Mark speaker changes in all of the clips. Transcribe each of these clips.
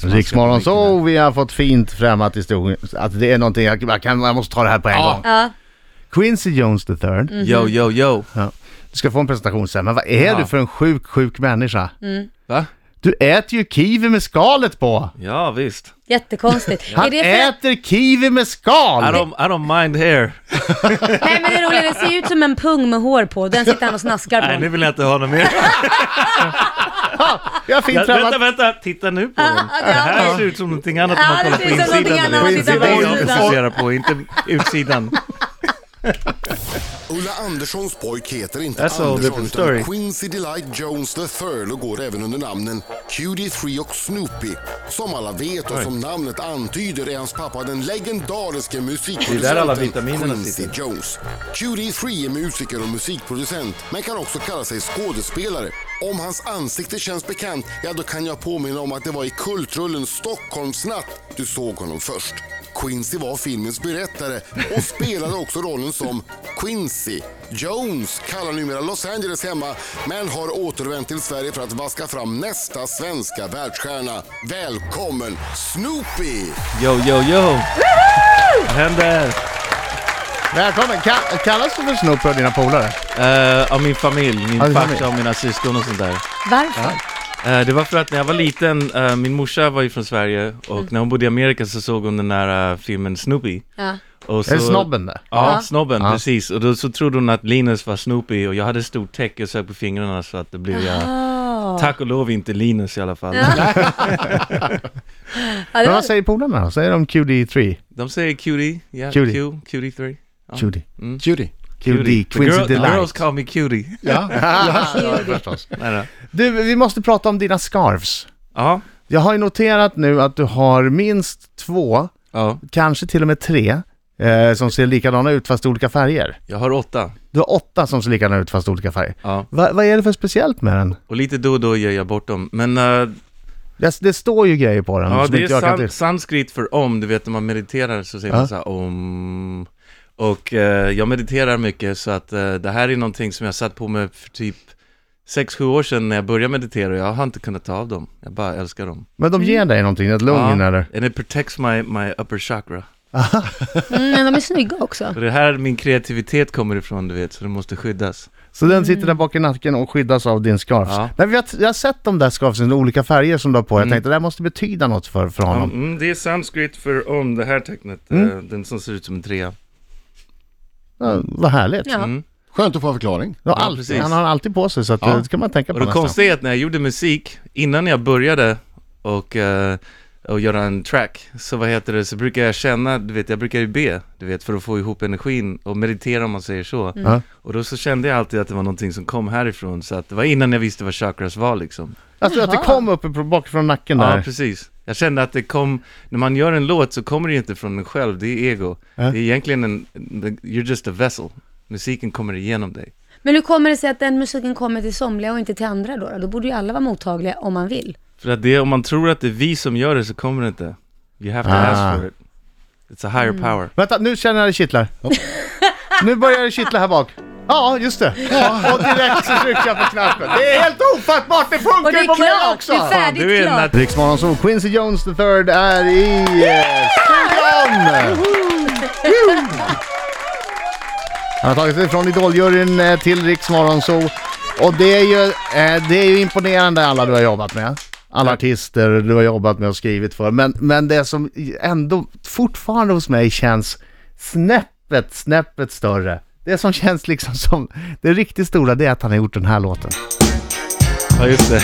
Speaker 1: Riksmorgon så vi har fått fint fram att, historien, att det är någonting, jag, jag, kan, jag måste ta det här på en
Speaker 2: Ja.
Speaker 1: gång.
Speaker 3: Ja. Mm.
Speaker 1: Quincy Jones the third.
Speaker 2: Yo, yo, yo.
Speaker 1: Du ska få en presentation sen, men vad är
Speaker 2: Ja.
Speaker 1: du för en sjuk, sjuk människa?
Speaker 3: Mm.
Speaker 2: Va?
Speaker 1: Du äter ju kiwi med skalet på!
Speaker 2: Ja, visst.
Speaker 3: Jättekonstigt.
Speaker 1: Han
Speaker 3: Är det för...
Speaker 1: äter kiwi med skal!
Speaker 2: I don't, I don't mind hair.
Speaker 3: Nej men det roliga är att den ser ut som en pung med hår på, den sitter han och snaskar
Speaker 2: Nej, nu
Speaker 3: på.
Speaker 2: vill jag inte ha något mer.
Speaker 1: Jag har
Speaker 2: Ja,
Speaker 1: fint fram
Speaker 2: vänta,
Speaker 1: att...
Speaker 2: vänta. Titta nu på den.
Speaker 3: ja,
Speaker 2: Det här
Speaker 3: ja.
Speaker 2: ser ut som någonting annat
Speaker 3: Ja,
Speaker 2: när man kollar på
Speaker 3: det ser ut som någonting
Speaker 2: insidan.
Speaker 3: annat om man tittar på
Speaker 2: det är det jag
Speaker 3: insidan.
Speaker 2: fokuserar på, inte utsidan.
Speaker 4: Ulla Anderssons pojk heter inte
Speaker 2: That's all
Speaker 4: Andersson
Speaker 2: different
Speaker 4: utan
Speaker 2: story.
Speaker 4: Quincy Delight Jones III och går även under namnen QD3 och Snoopy. Som alla vet och som namnet antyder är hans pappa den legendariske
Speaker 2: där alla
Speaker 4: musikproducenten
Speaker 2: vitaminerna
Speaker 4: Quincy Jones. QD3 är musiker och musikproducent men kan också kalla sig skådespelare. Om hans ansikte känns bekant, ja då kan jag påminna om att det var i kultrullen Stockholmsnatt du såg honom först. Quincy var filmens berättare och spelade också rollen som Quincy. Jones kallar numera Los Angeles hemma men har återvänt till Sverige för att vaska fram nästa svenska världsstjärna. Välkommen Snoopy!
Speaker 2: Yo, yo, yo. Vad händer?
Speaker 1: Välkommen! Ka- Kallas du för Snoopy av dina polare?
Speaker 2: Eh, av min familj, min
Speaker 1: Av din
Speaker 2: farsa
Speaker 1: familj.
Speaker 2: och mina syskon och sånt där.
Speaker 3: Varför?
Speaker 2: Eh, det var för att när jag var liten, eh, min morsa var ju från Sverige och när hon bodde i Amerika så såg hon den där eh, filmen Snoopy.
Speaker 3: Ja.
Speaker 2: Och så,
Speaker 1: Är det snobben där?
Speaker 2: Ja,
Speaker 3: Ja.
Speaker 2: snobben,
Speaker 1: Ja.
Speaker 2: precis. Och då så trodde hon att Linus var Snoopy och jag hade stort täcke och sög på fingrarna så att det blev jag,
Speaker 3: Ah.
Speaker 2: tack och lov inte Linus i alla fall.
Speaker 3: Ja, det
Speaker 1: Men
Speaker 3: var...
Speaker 1: vad säger polarna då? Säger de QD3?
Speaker 2: De säger cutie, yeah,
Speaker 1: Cutie.
Speaker 2: Q, cutie 3. Ja. Mm.
Speaker 1: QD?
Speaker 5: Judy.
Speaker 1: QD,
Speaker 2: The, girl,
Speaker 1: Quincy
Speaker 2: the girls
Speaker 1: Delight.
Speaker 2: call me cutie.
Speaker 5: Ja.
Speaker 1: Ja, förstås.
Speaker 2: Nej, då.
Speaker 1: Du, vi måste prata om dina scarves.
Speaker 2: Ja,
Speaker 1: Jag har ju noterat nu att du har minst två,
Speaker 2: ja,
Speaker 1: kanske till och med tre, eh, som ser likadana ut fast i olika färger.
Speaker 2: jag har åtta.
Speaker 1: Du har åtta som ser likadana ut fast i olika färger.
Speaker 2: Ja.
Speaker 1: Va, vad är det för speciellt med den?
Speaker 2: Och lite då och då gör jag bort dem. Men eh,
Speaker 1: Det, det står ju grejer på den
Speaker 2: Ja,
Speaker 1: som
Speaker 2: det
Speaker 1: inte jag kan
Speaker 2: är
Speaker 1: till.
Speaker 2: san- sanskrit för om, du vet när man mediterar så säger
Speaker 1: Ja.
Speaker 2: man så här om. Och eh, jag mediterar mycket så att eh, det här är någonting som jag satt på mig för typ 6-7 år sedan när jag började meditera och jag har inte kunnat ta av dem. Jag bara älskar dem.
Speaker 1: Men de ger dig någonting, ett lugn
Speaker 2: Ja,
Speaker 1: eller?
Speaker 2: and it protects my, my upper chakra.
Speaker 3: mm, men de är snygga också.
Speaker 2: Och det är här min kreativitet kommer ifrån du vet, så det måste skyddas.
Speaker 1: Så den sitter där bak i nacken och skyddas av din scarfs.
Speaker 2: Ja.
Speaker 1: Nej, jag, jag har sett de där scarfsen i olika färger som du har på. Jag tänkte det här måste betyda något för, för honom.
Speaker 2: Mm, det är sanskrit för om, det här tecknet,
Speaker 1: Mm.
Speaker 2: eh, den som ser ut som en trea.
Speaker 1: Ja, vad härligt.
Speaker 3: Ja.
Speaker 2: Mm.
Speaker 5: Skönt att få en förklaring.
Speaker 1: Ja,
Speaker 2: Ja,
Speaker 1: alltid,
Speaker 2: precis.
Speaker 1: han har alltid på sig så att, eh,
Speaker 2: Ja.
Speaker 1: det ska man tänka på
Speaker 2: Och det
Speaker 1: nästan.
Speaker 2: konstiga är att när jag gjorde musik, innan jag började och, eh, och göra en track, så vad heter det, så brukar jag känna, du vet, jag brukar ju be, du vet, för att få ihop energin och meditera om man säger så.
Speaker 1: Ja.
Speaker 2: Och då så kände jag alltid att det var någonting som kom härifrån, så att det var innan jag visste vad chakras var liksom.
Speaker 1: Alltså att det
Speaker 3: Jaha.
Speaker 1: kom upp på- bakifrån nacken
Speaker 2: Ja,
Speaker 1: där.
Speaker 2: precis. Jag kände att det kom, när man gör en låt så kommer det ju inte från en själv, det är ego.
Speaker 1: Ja.
Speaker 2: Det är egentligen en, you're just a vessel. Musiken kommer igenom dig.
Speaker 3: Men hur kommer det sig att den musiken kommer till somliga och inte till andra då? Då borde ju alla vara mottagliga om man vill.
Speaker 2: För att det, om man tror att det är vi som gör det så kommer det inte. You have to
Speaker 1: Ah.
Speaker 2: ask for it. It's a higher
Speaker 3: Mm.
Speaker 2: power.
Speaker 1: Vänta, nu känner jag det kittlar. nu börjar det kittla här bak. Ja, just det. Och direkt så trycker jag på knappen. Det är helt ofattbart, det funkar
Speaker 3: Och det
Speaker 1: ju
Speaker 3: är
Speaker 1: på mig
Speaker 3: klart,
Speaker 1: också!
Speaker 3: det är färdigt
Speaker 2: Du är en
Speaker 3: klart.
Speaker 2: nat-
Speaker 1: Riksmorgon så Quincy Jones III är i eh, studion! Woho! Han har tagit sig från Idoljuryn eh, till Riksmorgon så och det är, ju, eh, det är ju imponerande alla du har jobbat med. Alla artister du har jobbat med och skrivit för. Men, men det som ändå fortfarande hos mig känns snäppet, snäppet större. Det som känns liksom som det riktigt stora det är att han har gjort den här låten.
Speaker 2: Ja, just det.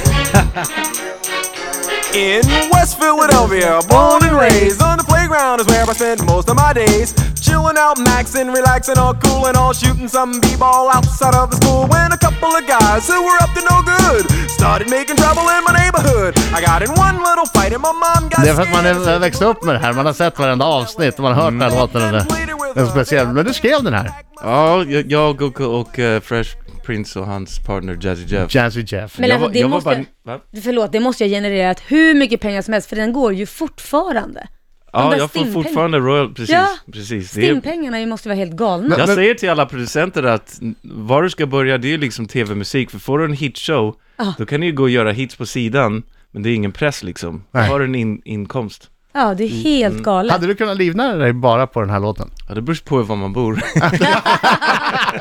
Speaker 6: In West Philadelphia, born and raised on the playground is where I spend most of my days. Chilling out, maxing, relaxing, all cool and all shooting some b-ball outside of the school. When a couple of guys who were up to no good started making trouble in my neighborhood. I got in one little fight and my mom got
Speaker 1: Det är för att man er-
Speaker 6: scared.
Speaker 1: är- växt upp med det här. Man har sett varenda avsnitt och man har hört den här låten. och det- Den är speciell. Men du skrev den här.
Speaker 2: Ja, jag, jag och, och eh, Fresh Prince och hans partner Jazzy Jeff.
Speaker 1: Jazzy Jeff.
Speaker 3: Men
Speaker 2: jag
Speaker 3: alltså,
Speaker 2: var-
Speaker 3: det
Speaker 2: jag var
Speaker 3: måste...
Speaker 2: bara- va?
Speaker 3: Förlåt, det måste jag genererat hur mycket pengar som helst, för den går ju fortfarande.
Speaker 2: Ja,
Speaker 3: där
Speaker 2: jag får
Speaker 3: stimpengarna.
Speaker 2: fortfarande royal, precis.
Speaker 3: Ja,
Speaker 2: precis. Det är,
Speaker 3: Stimpengarna ju måste vara helt galna.
Speaker 2: jag säger till alla producenter att n- var du ska börja, det är ju liksom tv-musik. För får du en hitshow, då kan du ju gå och göra hits på sidan. Men det är ingen press liksom.
Speaker 1: Nej.
Speaker 2: Har du en in, inkomst?
Speaker 3: Ja, det är
Speaker 2: Mm.
Speaker 3: helt galet.
Speaker 1: Hade du kunnat livnära dig bara på den här låten?
Speaker 2: Ja, det beror på var man bor.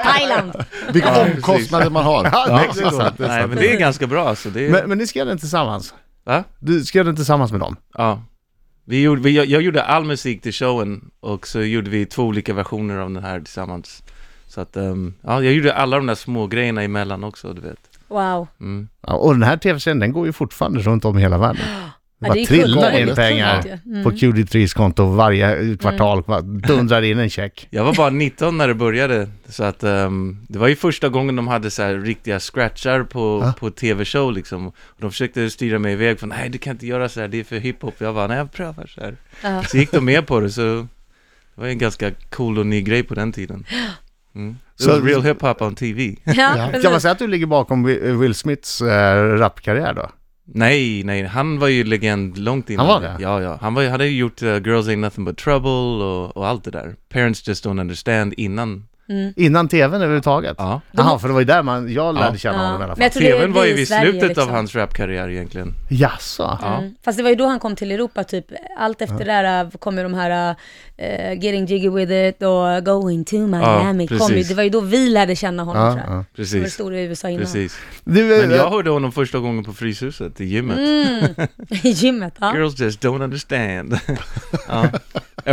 Speaker 3: Thailand.
Speaker 5: Vilka
Speaker 2: Ja,
Speaker 5: omkostnader man har.
Speaker 1: det är sant, det är
Speaker 2: Nej,
Speaker 1: sant.
Speaker 2: men det är ganska bra alltså. Det är...
Speaker 1: Men, men ni skrev den tillsammans?
Speaker 2: Va?
Speaker 1: Du skrev den tillsammans med dem?
Speaker 2: Ja. Vi gjorde, vi, jag, jag gjorde all musik till showen och så gjorde vi två olika versioner av den här tillsammans. Så att, ehm, ja, jag gjorde alla de där små grejerna emellan också, du vet.
Speaker 3: Wow.
Speaker 2: Mm.
Speaker 1: Ja, och den här tv-serien den går ju fortfarande runt om i hela världen. Det
Speaker 3: Ja,
Speaker 1: bara
Speaker 3: det är
Speaker 1: trillar
Speaker 3: galet.
Speaker 1: in pengar
Speaker 3: Sjukt ju. Mm.
Speaker 1: på QD3s konto varje kvartal. bara Dundrar in en check.
Speaker 2: Jag var bara 19 när det började, så att ehm, det var ju första gången de hade så här riktiga scratchar på, på tv-show liksom. Och de försökte styra mig iväg från, nej du kan inte göra så här, det är för hiphop. Jag bara, nej jag prövar så här.
Speaker 3: Ja.
Speaker 2: Så gick de med på det, så det var ju en ganska cool och ny grej på den tiden. Mm. It
Speaker 1: Så-
Speaker 2: was real hip-hop on TV.
Speaker 3: Ja,
Speaker 1: Kan man
Speaker 3: precis.
Speaker 1: säga att du ligger bakom Wi- Will Smiths eh, rapkarriär då?
Speaker 3: Mm.
Speaker 2: Nej, nej, han var ju legend långt innan.
Speaker 1: Han var det?
Speaker 2: Ja, ja. Han var, ju- hade ju gjort eh, Girls Ain't Nothing But Trouble och, och allt det där. Parents Just Don't Understand innan.
Speaker 1: Innan tvn överhuvudtaget?
Speaker 2: Ja.
Speaker 1: Jaha, för det var ju där man, jag lärde
Speaker 2: Ja.
Speaker 1: känna
Speaker 3: Ja.
Speaker 1: honom i alla
Speaker 3: Men
Speaker 1: fall.
Speaker 3: jag tror det
Speaker 2: TVn var
Speaker 3: vi
Speaker 2: ju
Speaker 3: i
Speaker 2: vid
Speaker 3: Sverige,
Speaker 2: slutet
Speaker 3: liksom.
Speaker 2: av hans rapkarriär egentligen.
Speaker 1: Jaså?
Speaker 2: Ja.
Speaker 3: Mm. Fast det var ju då han kom till Europa typ. Allt efter det där äh, kom ju de här äh, Getting Jiggy With It och Going To Miami. kom ju.
Speaker 2: precis.
Speaker 3: Det var ju då vi lärde känna honom
Speaker 1: Mm. Ja,
Speaker 3: tror jag.
Speaker 1: ja.
Speaker 3: Han var
Speaker 2: Precis,
Speaker 3: stor i USA innan.
Speaker 2: precis.
Speaker 1: Du, eh,
Speaker 2: Men jag hörde honom första gången på Fryshuset i gymmet.
Speaker 3: Mm. I gymmet, ja.
Speaker 2: Girls Just Don't Understand. ja.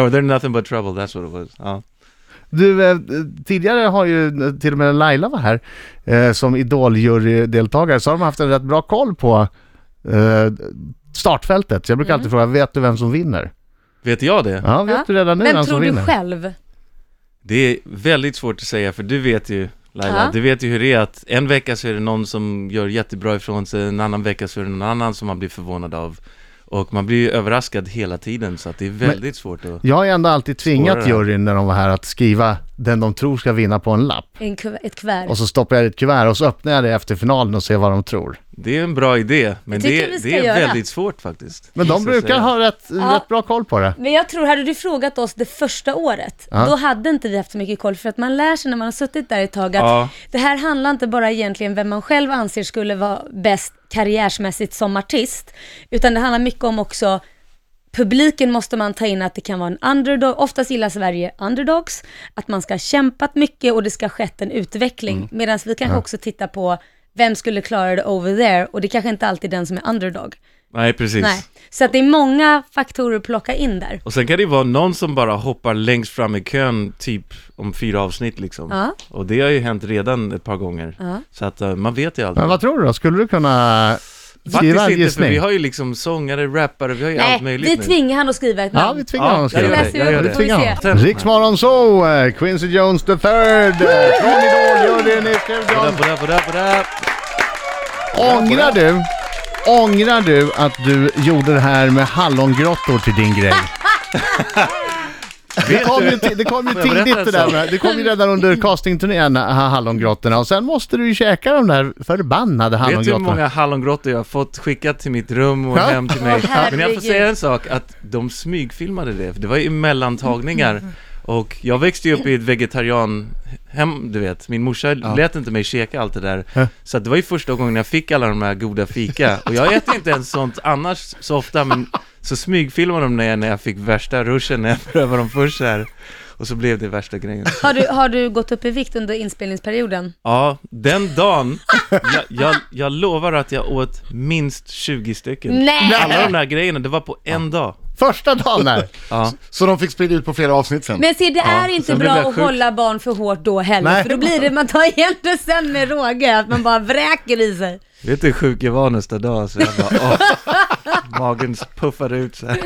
Speaker 2: Oh, they're nothing but trouble, that's what it was. Ja.
Speaker 1: du eh, tidigare har ju eh, till och med Laila var här eh, som idoljurydeltagare så har de haft en rätt bra koll på eh, startfältet. Så jag brukar alltid fråga, vet du vem som vinner?
Speaker 2: Vet jag det?
Speaker 1: Ja, vet
Speaker 3: Mm. Ja.
Speaker 1: du redan nu
Speaker 3: Vem
Speaker 1: vem
Speaker 3: tror
Speaker 1: som
Speaker 3: du
Speaker 1: vinner?
Speaker 3: själv?
Speaker 2: Det är väldigt svårt att säga för du vet ju Laila,
Speaker 3: Ja.
Speaker 2: du vet ju hur det är att en vecka så är det någon som gör jättebra ifrån sig, en annan vecka så är det någon annan som man blir förvånad av. Och man blir ju överraskad hela tiden så att det är väldigt svårt att...
Speaker 1: Jag har ju ändå alltid tvingat
Speaker 2: Svårare.
Speaker 1: juryn när de var här att skriva den de tror ska vinna på en lapp.
Speaker 3: En kuv- ett kuvert?
Speaker 1: Och så stoppar jag i ett kuvert och så öppnar jag det efter finalen och ser vad de tror.
Speaker 2: Det är en bra idé, men
Speaker 3: tycker vi
Speaker 2: det,
Speaker 3: ska
Speaker 2: det är
Speaker 3: göra.
Speaker 2: väldigt svårt faktiskt.
Speaker 1: Men de
Speaker 2: Så att
Speaker 1: brukar
Speaker 2: säga.
Speaker 1: ha rätt, rätt bra koll på det.
Speaker 3: Men jag tror, hade du frågat oss det första året,
Speaker 1: Ja.
Speaker 3: då hade inte vi haft så mycket koll. För att man lär sig när man har suttit där ett tag att
Speaker 2: Ja.
Speaker 3: det här handlar inte bara egentligen vem man själv anser skulle vara bäst karriärsmässigt som artist, utan det handlar mycket om också Publiken måste man ta in att det kan vara en underdog, oftast gillar Sverige underdogs, att man ska ha kämpat mycket och det ska ha skett en utveckling. Medan vi kanske också tittar på vem skulle klara det over there och det kanske inte alltid är den som är underdog.
Speaker 2: Nej, precis.
Speaker 3: Nej. Så att det är många faktorer att plocka in där.
Speaker 2: Och sen kan det ju vara någon som bara hoppar längst fram i kön, typ om fyra avsnitt liksom.
Speaker 3: Ja.
Speaker 2: Och det har ju hänt redan ett par gånger.
Speaker 3: Ja.
Speaker 2: Så att eh, man vet ju aldrig.
Speaker 1: Men vad tror du då? Skulle du kunna skriva en
Speaker 2: Faktiskt inte, för vi
Speaker 1: gissning?
Speaker 2: har ju liksom sångare, rappare, vi har ju allt
Speaker 3: Nej,
Speaker 2: möjligt
Speaker 3: vi
Speaker 2: nu.
Speaker 3: tvingar han att skriva ett
Speaker 1: Ja,
Speaker 3: namn.
Speaker 1: vi tvingar honom att
Speaker 2: jag
Speaker 1: skriva
Speaker 2: gör
Speaker 1: det.
Speaker 2: det, jag gör
Speaker 1: Vi
Speaker 2: det.
Speaker 1: tvingar
Speaker 3: Får vi
Speaker 1: honom.
Speaker 2: se.
Speaker 1: Riksmorgon så, eh, Quincy Jones the third, eh, från Idol, gör det ni i studion.
Speaker 2: Bra, bra, bra, bra.
Speaker 1: Ångrar du, ångrar du att du gjorde det här med hallongrottor till din grej? Det kom ju, ti- det kom ju
Speaker 2: Får jag
Speaker 1: tidigt det
Speaker 2: berätta en
Speaker 1: där
Speaker 2: sak?
Speaker 1: med, det kom ju redan under castingturnén, ha- hallongrottorna, och sen måste du ju käka de där förbannade
Speaker 2: Vet du hur
Speaker 1: hallongrottorna.
Speaker 2: många hallongrottor jag har fått skickat till mitt rum och
Speaker 1: Ja.
Speaker 2: hem till mig?
Speaker 3: Åh, herregud.
Speaker 2: Men jag får säga en sak, att de smygfilmade det, för det var ju mellantagningar. Och jag växte ju upp i ett vegetarianhem, du vet. Min morsa lät inte mig käka allt det där. Så att det var ju första gången jag fick alla de här goda fika. Och jag äter inte ens sånt annars så ofta, men så smygfilmade de när jag, när jag fick värsta ruschen, när jag prövade dem först så här. Och så blev det värsta grejen.
Speaker 3: Har, du, har du gått upp i vikt under inspelningsperioden?
Speaker 2: Ja, den dagen, jag, jag, jag lovar att jag åt minst 20 stycken.
Speaker 3: Nej!
Speaker 2: Alla de där grejerna, det var på en dag.
Speaker 1: Första dagen där!
Speaker 2: Ja.
Speaker 5: Så de fick sprida ut på flera avsnitt sen.
Speaker 3: Men se, det är inte
Speaker 2: sen blev
Speaker 3: bra
Speaker 2: jag
Speaker 3: att
Speaker 2: sjuk.
Speaker 3: hålla barn för hårt då heller,
Speaker 1: Nej.
Speaker 3: för då blir det, man tar igen det sen med råge, att man bara vräker i sig.
Speaker 2: Vet du hur sjuk jag var nästa dag? Så jag bara, åh, magen puffade ut så här.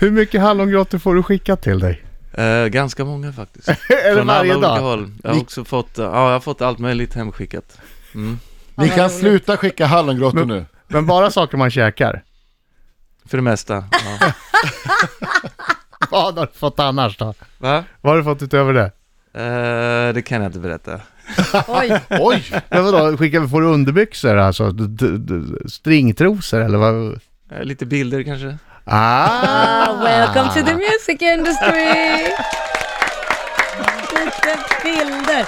Speaker 1: Hur mycket hallongrottor får du skicka till dig?
Speaker 2: Eh, ganska många faktiskt.
Speaker 1: Eller
Speaker 2: Från
Speaker 1: varje
Speaker 2: alla olika
Speaker 1: dag?
Speaker 2: håll. Jag har också fått, eh, ja, jag har fått allt möjligt hemskickat.
Speaker 5: Ni
Speaker 3: vad
Speaker 5: kan
Speaker 3: roligt.
Speaker 5: sluta skicka hallongrottor nu.
Speaker 1: Men bara saker man käkar.
Speaker 2: För det mesta. Eh, Ja.
Speaker 1: Vad har du fått annars då?
Speaker 2: Va?
Speaker 1: Vad har du fått utöver det?
Speaker 2: Eh, det kan jag inte berätta.
Speaker 3: Oj,
Speaker 5: Oj!
Speaker 1: Men vadå, skickar, får du underbyxor alltså? D- d- d- stringtrosor eller vad?
Speaker 2: Eh, lite bilder kanske?
Speaker 1: Ah!
Speaker 3: Ah, welcome to the music industry! Lite bilder.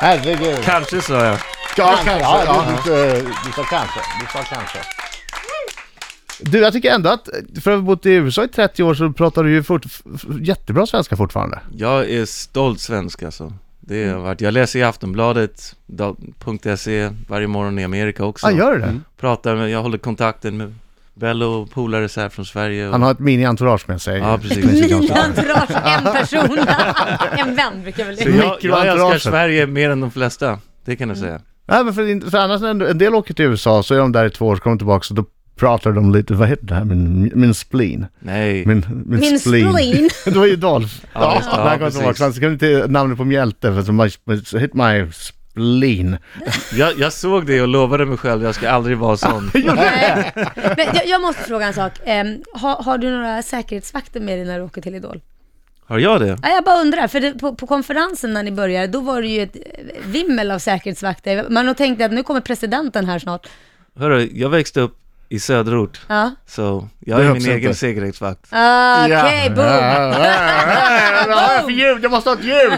Speaker 1: Herregud!
Speaker 2: Kanske sa jag.
Speaker 5: Ja, kanske.
Speaker 1: Ja,
Speaker 5: Ja,
Speaker 1: du-
Speaker 5: Du, du sa kanske. Du sa kanske.
Speaker 1: Du, jag tycker ändå att för att ha bott i USA i 30 år så pratar du ju fort, f- f- jättebra svenska fortfarande.
Speaker 2: Jag är stolt svensk alltså. Det
Speaker 1: Mm.
Speaker 2: har jag varit. Jag läser i Aftonbladet, da- .se E, varje morgon i Amerika också.
Speaker 1: Ja, Ah, gör du det?
Speaker 5: mm.
Speaker 2: Pratar med, jag håller kontakten med Bello och polare så här från Sverige. Och,
Speaker 1: Han har ett mini-entourage med sig.
Speaker 2: Ja, precis.
Speaker 3: Mini-entourage, en person. en vän brukar väl
Speaker 2: Så jag, jag älskar
Speaker 1: Mikroentouraget.
Speaker 2: Sverige mer än de flesta, det kan jag
Speaker 1: Mm.
Speaker 2: säga.
Speaker 1: Nej, men för, för annars när en del åker till USA så är de där i två år, så kommer de tillbaka och då pratar de lite, vad heter det här, min, min spleen?
Speaker 2: Nej,
Speaker 1: Min, min,
Speaker 3: Min spleen.
Speaker 1: det var ju Dolph.
Speaker 2: Ja,
Speaker 1: Ja,
Speaker 2: just det.
Speaker 1: ja,
Speaker 2: Ja,
Speaker 1: han kom
Speaker 2: precis.
Speaker 1: tillbaka. Han skrev inte namnet på mjälte för så my, hit my spleen.
Speaker 2: jag, jag såg det och lovade mig själv, jag ska aldrig
Speaker 1: Ah,
Speaker 2: vara sån.
Speaker 3: Nej. Men jag, jag måste fråga en sak. Ehm, har, har du några säkerhetsvakter med dig när du åker till Idol?
Speaker 2: Har jag det?
Speaker 3: Ja, jag bara undrar, för det, på, på konferensen när ni började, då var det ju ett eh, vimmel av säkerhetsvakter. Man har tänkt att nu kommer presidenten här snart.
Speaker 2: Hörru, jag växte upp i söderort,
Speaker 3: Ja.
Speaker 2: så jag är
Speaker 5: Behövs
Speaker 2: min egen
Speaker 5: inte.
Speaker 2: säkerhetsvakt.
Speaker 3: Ah, Okej,
Speaker 1: Vad
Speaker 3: boom!
Speaker 1: har jag för ljud? Jag måste ha ett ljud!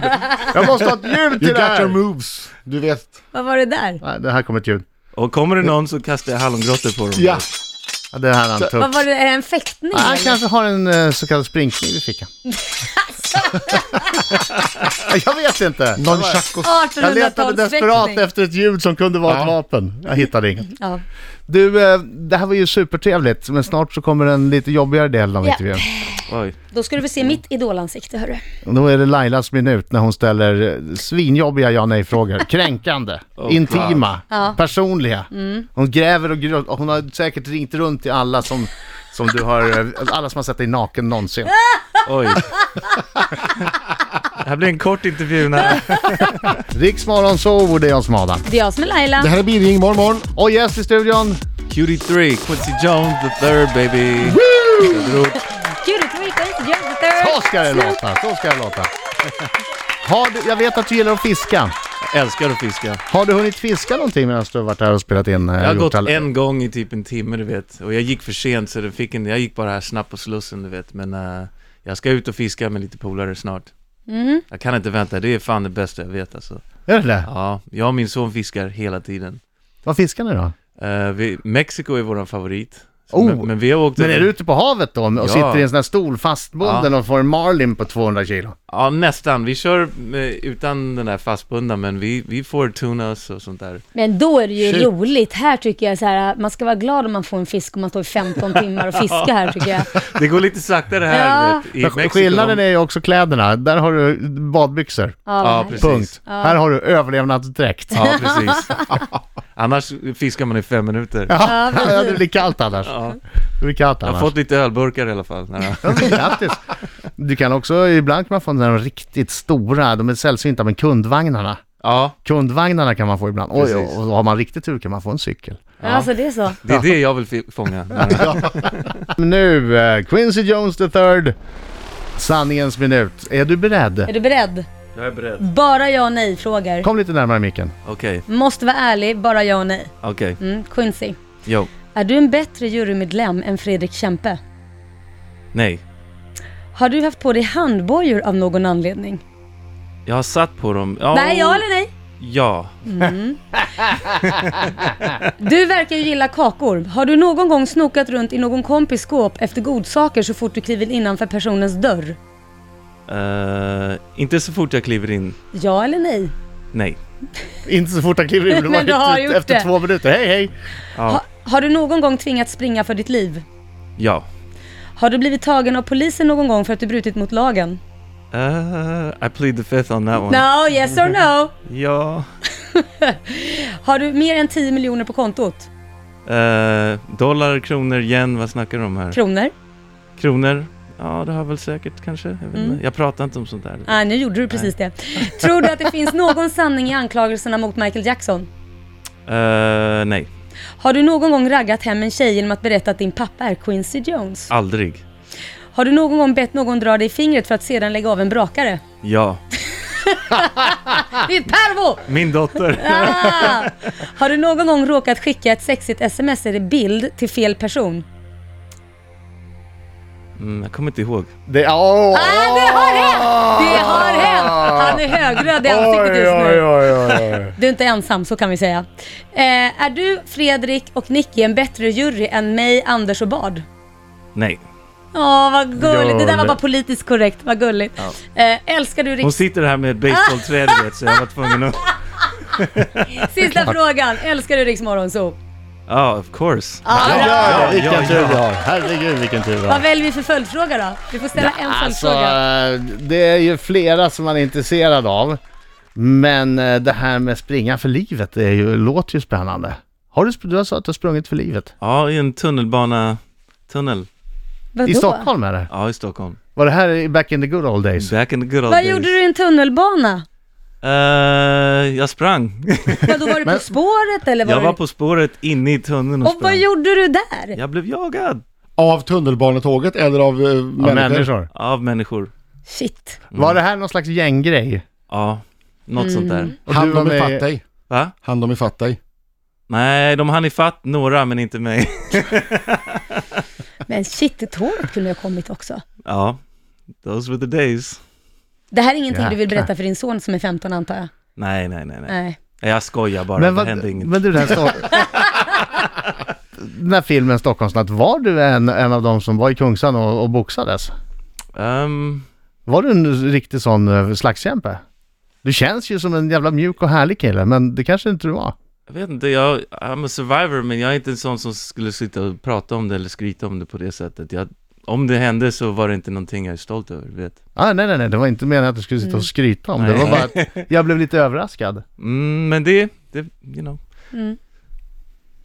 Speaker 1: Jag måste ha ett ljud
Speaker 5: You
Speaker 1: till det
Speaker 5: got your
Speaker 1: här!
Speaker 5: moves. Du vet.
Speaker 3: Vad var det där?
Speaker 1: Nej, det här kommer ett ljud.
Speaker 2: Och kommer det någon så kastar jag hallongrottor på dem.
Speaker 5: Ja.
Speaker 1: Ja, Det här är han
Speaker 3: Vad
Speaker 1: tuff.
Speaker 3: var det? Är det en fäktning?
Speaker 1: Ah, Han
Speaker 3: eller?
Speaker 1: kanske har en eh, så kallad springkniv i fickan. jag vet inte.
Speaker 5: Nonchacos.
Speaker 3: 1800-talsfäktning.
Speaker 1: Jag letade desperat efter ett ljud som kunde vara ett vapen. Jag hittade inget.
Speaker 3: Ja.
Speaker 1: Du, eh, det här var ju supertrevligt, men snart så kommer en lite jobbigare del av
Speaker 3: Ja.
Speaker 1: intervjun.
Speaker 2: Oj.
Speaker 3: Då ska du väl se mitt idolansikte, hörru.
Speaker 1: Då är det Lailas minut när hon ställer eh, svinjobbiga ja nej-frågor. Kränkande,
Speaker 2: Oh,
Speaker 1: intima, personliga. Hon gräver och gro- och Hon har säkert ringt runt till alla som, som du har, eh, alla som har sett dig naken någonsin.
Speaker 2: Oj. Det här blir en kort intervju. När...
Speaker 1: Riksmorgon så det är jag som är Adam.
Speaker 3: Det är jag som är Laila.
Speaker 5: Det här är Bilring imorgon morgon.
Speaker 1: Och gäst i studion,
Speaker 2: Cutie 3, Quincy Jones the third baby. Söderort.
Speaker 3: Curit Rico, Jupiter.
Speaker 1: så ska det låta, så ska det låta. Har du, jag vet att du gillar att fiska.
Speaker 2: Jag Älskar att fiska.
Speaker 1: Har du hunnit fiska någonting medan du har varit här och spelat in? eh,
Speaker 2: Jag har gått en gång i typ en timme, du vet. Och jag gick för sent, så det fick en... jag gick bara här snabbt på Slussen, du vet. Men eh, jag ska ut och fiska med lite polare snart. Jag kan inte vänta, det är fan det bästa jag vet alltså.
Speaker 1: Är det det?
Speaker 2: Ja, jag och min son fiskar hela tiden.
Speaker 1: Vad fiskar ni då?
Speaker 2: Eh, vi, Mexiko är våran favorit. Så-
Speaker 1: Oh.
Speaker 2: men, men vi har åkt...
Speaker 1: Men är du ute på havet då och
Speaker 2: Ja.
Speaker 1: sitter i en sån här stol fastbunden och får en marlin på 200 kilo?
Speaker 2: Ja, nästan. Vi kör eh, utan den där fastbundna, men vi, vi får tunas och sånt där.
Speaker 3: Men då är det ju
Speaker 5: Shit.
Speaker 3: roligt. Här tycker jag så här, man ska vara glad om man får en fisk om man står i 15 timmar och fiskar här tycker jag.
Speaker 2: Det går lite saktare här,
Speaker 3: Ja.
Speaker 2: du vet, i
Speaker 1: Men
Speaker 2: Mexiko.
Speaker 1: Skillnaden är ju också kläderna. Där har du badbyxor.
Speaker 2: Ja,
Speaker 3: vad
Speaker 2: precis.
Speaker 1: Punkt. Här har du överlevnadsdräkt. Ja.
Speaker 2: Ja, precis. Annars fiskar man i fem minuter.
Speaker 1: Ja, det blir kallt annars.
Speaker 2: Ja.
Speaker 1: Det blir kallt
Speaker 2: Jag
Speaker 1: annars.
Speaker 2: har fått lite ölburkar i alla fall. Nej,
Speaker 1: Ja, men Grattis! Du kan också, ibland kan man få de riktigt stora, de är sällsynta, men kundvagnarna.
Speaker 2: Ja,
Speaker 1: Kundvagnarna kan man få ibland. Oj,
Speaker 2: Precis.
Speaker 1: och har man riktigt tur kan man få en cykel.
Speaker 3: Ja. Alltså det är så.
Speaker 2: det är det jag vill fi- fånga.
Speaker 1: Nu, eh, Quincy Jones III, sanningens minut. Är du
Speaker 3: Är
Speaker 1: beredd?
Speaker 3: du beredd?
Speaker 2: Jag är beredd.
Speaker 3: Bara ja och nej frågor.
Speaker 1: Kom lite närmare micken.
Speaker 2: Okej,
Speaker 3: Måste vara ärlig, bara ja och nej.
Speaker 2: okej.
Speaker 3: Mm, Quincy.
Speaker 2: Jo,
Speaker 3: Är du en bättre jurymedlem än Fredrik Kempe?
Speaker 2: nej.
Speaker 3: Har du haft på dig handbojor av någon anledning?
Speaker 2: Jag har satt på dem. Ja,
Speaker 3: Nej, ja eller nej?
Speaker 2: Ja.
Speaker 3: Du verkar ju gilla kakor. Har du någon gång snokat runt i någon kompis skåp efter godsaker så fort du kliver innanför personens dörr?
Speaker 2: Eh, inte så fort jag kliver in.
Speaker 3: Ja eller nej?
Speaker 2: Nej.
Speaker 1: Inte så fort han kliver in,
Speaker 3: Men du har
Speaker 1: ut
Speaker 3: gjort
Speaker 1: efter
Speaker 3: det.
Speaker 1: två minuter. Hej, hej!
Speaker 2: Ja.
Speaker 3: Ha, har du någon gång tvingats springa för ditt liv?
Speaker 2: Ja.
Speaker 3: Har du blivit tagen av polisen någon gång för att du brutit mot lagen?
Speaker 2: Eh, I plead the fifth on that one.
Speaker 3: No, yes or no?
Speaker 2: Ja.
Speaker 3: Har du mer än 10 miljoner på kontot?
Speaker 2: Eh, dollar, kronor, yen, vad snackar du om här?
Speaker 3: Kronor?
Speaker 2: Kronor? Ja, det har jag väl säkert kanske. Jag, vet
Speaker 3: Mm.
Speaker 2: inte. jag pratar inte om sånt där.
Speaker 3: Nej, nu gjorde du precis det. Tror du att det finns någon sanning i anklagelserna mot Michael Jackson?
Speaker 2: Eh, nej,
Speaker 3: Har du någon gång raggat hem en tjej genom att berätta att din pappa är Quincy Jones?
Speaker 2: aldrig.
Speaker 3: Har du någon gång bett någon dra dig i fingret för att sedan lägga av en brakare?
Speaker 2: Ja.
Speaker 1: Ah.
Speaker 3: Det är ett pervo!
Speaker 2: Min dotter.
Speaker 3: Ah! Har du någon gång råkat skicka ett sexigt sms eller bild till fel person?
Speaker 2: Mm, jag kommer inte ihåg.
Speaker 1: Det, åh!
Speaker 3: Ah, det har hänt! Det har hänt! Han Han är högröd i ansiktet
Speaker 1: Ah. Oj,
Speaker 3: just
Speaker 1: oj,
Speaker 3: nu.
Speaker 1: oj, oj, oj.
Speaker 3: Du är inte ensam, så kan vi säga. Eh, är du, Fredrik och Nicky en bättre jury än mig, Anders och Bard?
Speaker 2: Nej.
Speaker 3: Åh, vad gulligt. Det där var
Speaker 2: Gulligt.
Speaker 3: bara politiskt korrekt. Vad gulligt. Eh, älskar du
Speaker 2: Hon
Speaker 3: riks...
Speaker 2: sitter här med ett basebollträ du vet, så jag var tvungen att...
Speaker 3: Sista frågan. Älskar du Riks Morgonzoo?
Speaker 2: Ja, of course.
Speaker 1: Ja,
Speaker 2: ja,
Speaker 1: vilken
Speaker 2: ja.
Speaker 1: tur vi har. Herregud vilken tur vi har.
Speaker 3: Vad väljer vi för följdfråga då? Vi får ställa en
Speaker 1: Alltså,
Speaker 3: följdfråga.
Speaker 1: det är ju flera som man är intresserad av. Men eh, det här med springa för livet det är ju, låter ju spännande. Har du, sp- du har sagt att du har sprungit för livet?
Speaker 2: Ja, i en tunnelbana... Tunnel.
Speaker 3: Vadå?
Speaker 1: I Stockholm eller?
Speaker 2: Ja, i Stockholm.
Speaker 1: Var det här i back in the good old days?
Speaker 2: Back in the good old
Speaker 3: Vad
Speaker 2: days.
Speaker 3: gjorde du i en tunnelbana?
Speaker 2: Eh, jag sprang.
Speaker 3: Vadå, var du på spåret eller? Var
Speaker 2: Jag var
Speaker 3: du...
Speaker 2: på spåret inne i tunneln och,
Speaker 3: Och vad
Speaker 2: sprang.
Speaker 3: gjorde du där?
Speaker 2: Jag blev jagad
Speaker 5: Av tunnelbanetåget eller av eh,
Speaker 1: Av
Speaker 5: människor?
Speaker 1: människor. Mm.
Speaker 2: av människor.
Speaker 3: Shit.
Speaker 1: Var det här någon slags gänggrej?
Speaker 2: Ja, något sånt
Speaker 3: Mm.
Speaker 2: där.
Speaker 1: Och
Speaker 5: Hann
Speaker 1: du var
Speaker 5: de
Speaker 1: med-
Speaker 5: ifatt dig?
Speaker 2: Va?
Speaker 5: Hann de ifatt dig?
Speaker 2: Nej, de hann ifatt några, men inte mig.
Speaker 3: Men shit, tåget kunde ha kommit också.
Speaker 2: Ja, those were the days.
Speaker 3: Det här är ingenting du vill
Speaker 1: Jäklar.
Speaker 3: berätta för din son som är 15 antar jag?
Speaker 2: Nej, nej, nej, nej.
Speaker 3: Nej.
Speaker 2: Jag skojar bara,
Speaker 1: Men,
Speaker 2: det
Speaker 1: vad,
Speaker 2: hände inget.
Speaker 1: men du, den, Stock- den här filmen Stockholmsnatt, var du en, en av de som var i Kungsan och, och boxades?
Speaker 2: Ehm,
Speaker 1: Var du en riktig sån eh, slagskämpe? Du känns ju som en jävla mjuk och härlig kille, men det kanske inte du var.
Speaker 2: jag vet inte, jag, I'm a survivor, men jag är inte en sån som skulle sitta och prata om det eller skryta om det på det sättet. Jag, om det hände så var det inte någonting jag är stolt över, du vet.
Speaker 1: Ah, nej, nej, nej, det var inte meningen att du skulle sitta och skryta om det. Det var
Speaker 2: Nej.
Speaker 1: bara att jag blev lite överraskad.
Speaker 2: Mm, men det, det, you know.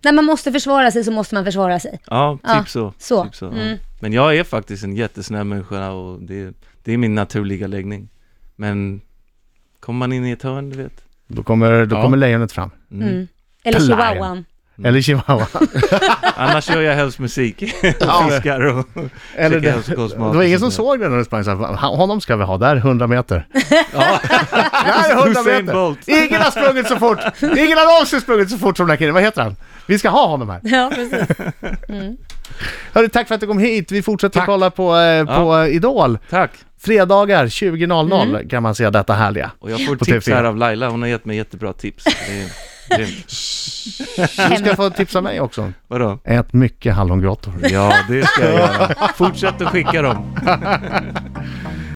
Speaker 3: När man måste försvara sig så måste man försvara sig.
Speaker 2: Ja, typ
Speaker 3: Ja,
Speaker 2: så.
Speaker 3: så.
Speaker 2: Typ så ja.
Speaker 3: Mm.
Speaker 2: Men jag är faktiskt en jättesnäll människa och det, det är min naturliga läggning. Men kommer man in i ett hörn, du vet.
Speaker 1: Då kommer, då
Speaker 5: Ja.
Speaker 1: kommer lejonet fram.
Speaker 2: Mm.
Speaker 3: Mm. Eller
Speaker 1: Lion.
Speaker 3: chihuahuan.
Speaker 1: Eller chihuahua.
Speaker 2: Annars gör jag helst musik. och fiskar och
Speaker 1: Eller
Speaker 2: käkar
Speaker 1: det,
Speaker 2: hälsokost
Speaker 1: det
Speaker 2: mat
Speaker 1: var ingen
Speaker 2: och
Speaker 1: som
Speaker 2: sånt
Speaker 1: såg det när du sprang så här, "Han- honom ska vi ha, där 100 meter.
Speaker 2: Ja.
Speaker 1: Där 100
Speaker 2: Usain
Speaker 1: meter.
Speaker 2: Bolt.
Speaker 1: Ingen har sprungit så fort. Ingen har någonsin sprungit så fort som den här killen. Vad heter han? Vi ska ha honom här.
Speaker 3: Ja, precis.
Speaker 1: Hörru, tack för att du kom hit. Vi fortsätter kolla på, eh, på
Speaker 2: Ja.
Speaker 1: eh, Idol.
Speaker 2: där. Tack!
Speaker 1: Fredagar 20.00 kan man se detta härliga.
Speaker 2: Och jag får
Speaker 1: På
Speaker 2: tips
Speaker 1: TV4.
Speaker 2: här av Laila, hon har gett mig jättebra tips. Det är grymt.
Speaker 1: Du ska få tipsa mig också.
Speaker 2: Vadå?
Speaker 1: Ät mycket hallongrottor.
Speaker 2: Ja, det ska jag göra. Fortsätt att skicka dem.